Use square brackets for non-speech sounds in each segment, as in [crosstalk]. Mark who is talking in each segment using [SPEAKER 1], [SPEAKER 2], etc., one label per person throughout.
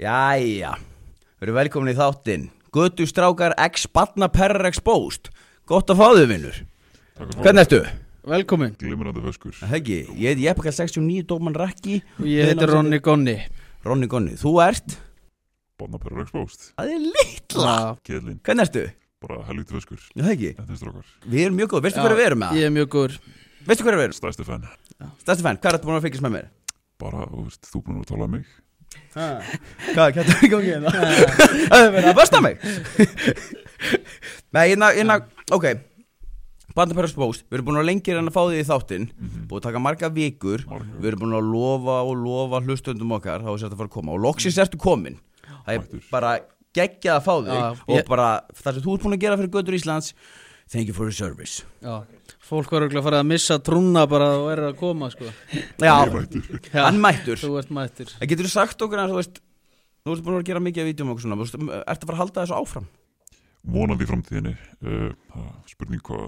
[SPEAKER 1] Jæja, við erum velkomin í þáttinn Götu strákar X Batna Perra Exposed Gott að fá þau vinnur Hvernig ertu?
[SPEAKER 2] Velkomin,
[SPEAKER 3] Glimrandi feskur
[SPEAKER 1] Það Heggi, ég heiti Jeppakall 69, Dóman Rakki
[SPEAKER 2] ég heiti Ronni Gonni
[SPEAKER 1] Ronni Gonni, þú ert?
[SPEAKER 3] Bonnapörur exposed
[SPEAKER 1] Það er litla
[SPEAKER 2] Já,
[SPEAKER 3] Kjellin
[SPEAKER 1] Hvernig ertu?
[SPEAKER 3] Bara helvítið feskur
[SPEAKER 1] Já, Heggi,
[SPEAKER 3] Þetta er strókar
[SPEAKER 1] við erum mjög góð, veistu hverju við erum með
[SPEAKER 2] Ég
[SPEAKER 1] það?
[SPEAKER 2] er mjög góður
[SPEAKER 1] Veistu hverju við erum?
[SPEAKER 3] Stæsti fenn
[SPEAKER 1] Stærsti fenn, hvað er þetta búin að fylgjast með mér?
[SPEAKER 3] Bara, þú veist, þú búin að tala um mig
[SPEAKER 1] Hvað, hvað er þetta í gangi hérna? [laughs] Það er verið að besta mig [laughs] Nei, hérna, hérna, ok Batna Perra Exposed, við erum búin að lengir en að fá þig í þáttinn
[SPEAKER 2] Mhm.
[SPEAKER 1] Búið að taka marga vikur
[SPEAKER 3] Margar.
[SPEAKER 1] Við erum búin að lofa og lofa hlustöndum okkar þá er þetta að fara að koma og loksins ertu komin Það er
[SPEAKER 3] Mættur.
[SPEAKER 1] bara geggjað að fá þig
[SPEAKER 2] Já,
[SPEAKER 1] og
[SPEAKER 2] ég-
[SPEAKER 1] bara það sem þú ert búin að gera fyrir Götur Íslands Thank you for your service
[SPEAKER 2] Já, fólk var auðvitað að fara að missa trúna bara og er að koma sko
[SPEAKER 1] Já,
[SPEAKER 2] Já,
[SPEAKER 1] hann mættur
[SPEAKER 2] Þú ert mættur
[SPEAKER 1] En getur þú sagt okkur að þú veist Þú ert búin að gera mikið af vídjum og okkur svona þú veist, Ertu að fara að halda þessu áfram?
[SPEAKER 3] Vonandi í framtíðinni uh, það er Spurning hvað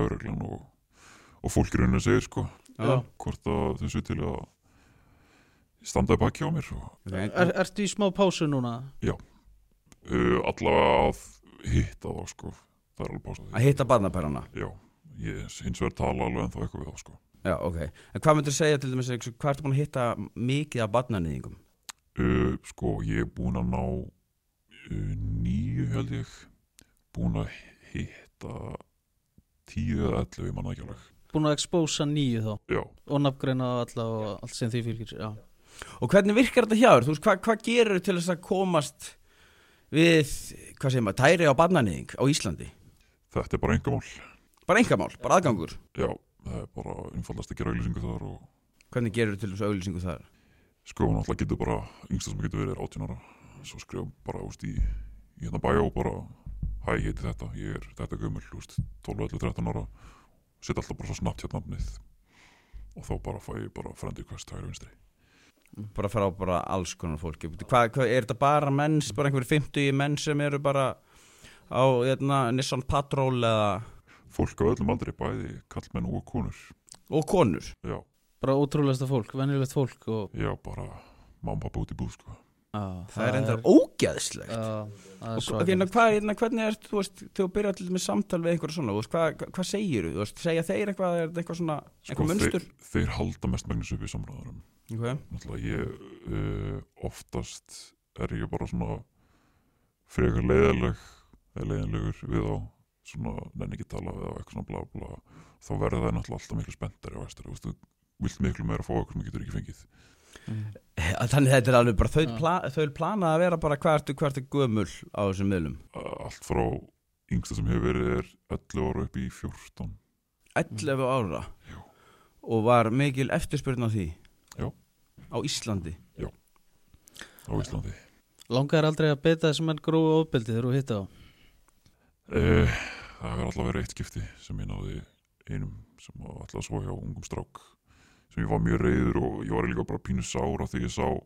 [SPEAKER 3] lauruglan og, og fólk í rauninu segir sko
[SPEAKER 2] Já.
[SPEAKER 3] Hvort að þau séu til að Standa í baki á mér og,
[SPEAKER 2] er, Ertu í smá pásu núna?
[SPEAKER 3] uh, Allavega að hitta þá sko Það er alveg pása
[SPEAKER 1] Að hitta barnaperrana
[SPEAKER 3] Já, ég hins vegar tala alveg en þá eitthvað við þá sko
[SPEAKER 1] Já, ok En hvað myndir segja til dæmis eins og Hvað ertu búin að hitta mikið af barnanýðingum?
[SPEAKER 3] Uh, sko, ég er búinn að ná uh, nýju held ég búinn að hitta tíu eða ellu, ég manna ekki alveg
[SPEAKER 2] Búin að expósa nýju þá
[SPEAKER 3] Já,
[SPEAKER 2] og nafngreina á alla og allt sem því fylgir Já,
[SPEAKER 1] Og hvernig virkar þetta hjá þér? Þú veist, hvað, hvað gerur til þess að komast við, hvað segir maður, tæri á barnanýðing á Íslandi?
[SPEAKER 3] þetta er bara engamál
[SPEAKER 1] Bara engamál, bara aðgangur.
[SPEAKER 3] Já, það er bara einfaldast að gera auðlýsingu þar og
[SPEAKER 1] Hvernig gerur til þess að auðlýsingu þar?
[SPEAKER 3] sko, hann alltaf getur bara yngsta sem getur verið er 18 ára svo skrifa bara, úst, í, í hérna bæja og bara hæ, ég heiti þetta, ég er þetta gömul úst, 12, 11, 13 ára setja alltaf bara svo snabbt hérna nafnið og þá bara fæ ég bara frendi hvers tæri vinstri
[SPEAKER 1] Bara fara á bara alls konar fólki. Hvað, hvað, er þetta bara menns, bara einhverjir 50 menn sem eru bara á eitna, Nissan Patrol eða,
[SPEAKER 3] fólk á öllum aldrei, bæði kallmenn og konur
[SPEAKER 1] og konur?
[SPEAKER 3] já,
[SPEAKER 2] bara ótrúlegasta fólk, venjulegt fólk og
[SPEAKER 3] já, bara mamma pappa út í búð sko.
[SPEAKER 2] Já,
[SPEAKER 1] Það, er enda ógeðslegt.
[SPEAKER 2] Já, það er
[SPEAKER 1] Og,
[SPEAKER 2] svo
[SPEAKER 1] ok, ná, hvað, hérna, hvernig er, þú veist, þegar þú byrjar til með samtal við einhverja svona, þú veist, hvað, hvað- hvað segir þú, veist, segja þeir eitthvað, er þetta eitthvað svona,
[SPEAKER 3] Sko,
[SPEAKER 1] eitthvað munstur?
[SPEAKER 3] þeir, þeir halda mest megnis upp í samræðarum
[SPEAKER 1] Okay.
[SPEAKER 3] náttúrulega ég uh, oftast er ég bara svona frekar leiðileg eða leiðilegur við á svona nenni ekki tala við á eitthvað svona bla bla þá verða það náttúrulega alltaf miklu spenntari og æstari, þú vilt miklu meira fá eitthvað sem þú getur ekki fengið
[SPEAKER 1] Að Eh, Þannig þetta er alveg bara þau,
[SPEAKER 2] Já.
[SPEAKER 1] pla, þau plana að vera bara hvað ertu, hvað ertu gömul á þessum miðlum
[SPEAKER 3] Uh, allt frá yngsta sem hefur verið er 11 ára upp í 14
[SPEAKER 1] 11 ára
[SPEAKER 3] Já.
[SPEAKER 1] og var mikil eftirspurn á því
[SPEAKER 3] Já.
[SPEAKER 1] á Íslandi
[SPEAKER 3] á Íslandi
[SPEAKER 2] Langar aldrei að beita þessum menn gróðu ofbeldi þegar þú hitta á
[SPEAKER 3] Eh, Það hefur alltaf verið eitt skipti sem ég náði einum sem var alltaf svo hjá ungum strák sem ég var mjög reyður og ég var líka bara pínu sár af því ég sá að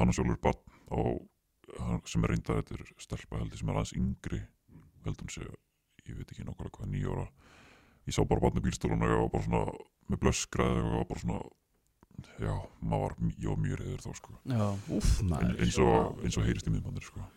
[SPEAKER 3] hann er sjálfur barn á, hann- sem er reyndar þetta er stelpa heldur sem er aðeins yngri heldur hann sé, ég veit ekki nákvæmlega hvað nýja ára ég sá bara barn í bílstólun og ég var bara svona með blöskraði og ég var bara svona já, maður var, ég var mjög reyður þá sko
[SPEAKER 2] Já,
[SPEAKER 1] Úf,
[SPEAKER 3] en,
[SPEAKER 1] maður
[SPEAKER 3] eins, og, eins og heyrist í miðmannir sko